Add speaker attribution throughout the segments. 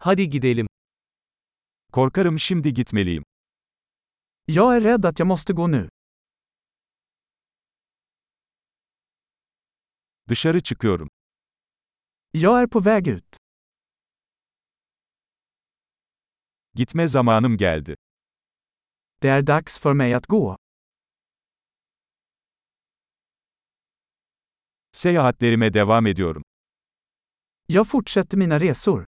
Speaker 1: Hadi gidelim. Korkarım şimdi gitmeliyim.
Speaker 2: Jag är rädd att jag måste gå nu.
Speaker 1: Dışarı çıkıyorum.
Speaker 2: Jag är på väg ut.
Speaker 1: Gitme zamanım geldi.
Speaker 2: Det är dags för mig att gå.
Speaker 1: Seyahatlerime devam ediyorum.
Speaker 2: Jag fortsätter mina resor.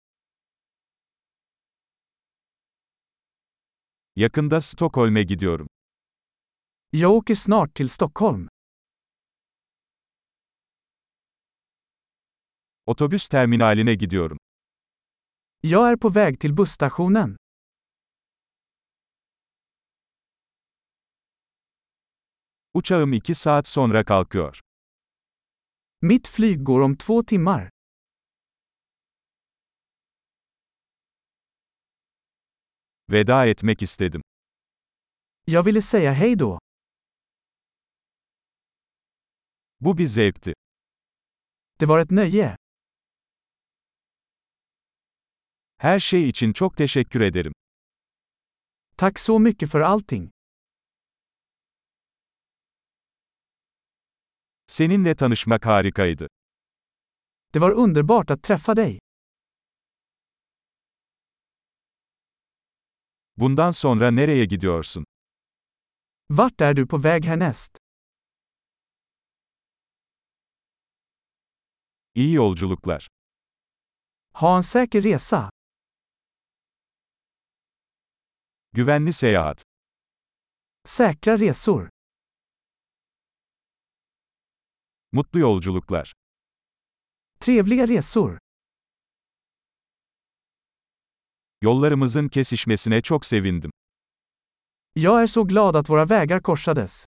Speaker 1: Yakında Stockholm'e gidiyorum.
Speaker 2: Jag åker snart till Stockholm.
Speaker 1: Otobüs terminaline gidiyorum.
Speaker 2: Jag är på väg till busstationen.
Speaker 1: Uçağım 2 saat sonra kalkıyor.
Speaker 2: Mitt flyg går om två timmar.
Speaker 1: Veda etmek istedim.
Speaker 2: Jag ville säga hej då.
Speaker 1: Bu bir zevkti.
Speaker 2: Det var ett nöje.
Speaker 1: Her şey için çok teşekkür ederim.
Speaker 2: Tack så mycket för allting.
Speaker 1: Seninle tanışmak harikaydı.
Speaker 2: Det var underbart att träffa dig.
Speaker 1: Bundan sonra nereye gidiyorsun?
Speaker 2: Vart är du på väg härnäst?
Speaker 1: İyi yolculuklar.
Speaker 2: Ha en säker resa.
Speaker 1: Güvenli seyahat.
Speaker 2: Säkra resor.
Speaker 1: Mutlu yolculuklar.
Speaker 2: Trevliga resor.
Speaker 1: Yollarımızın kesişmesine çok sevindim.
Speaker 2: Jag är så glad att våra vägar korsades.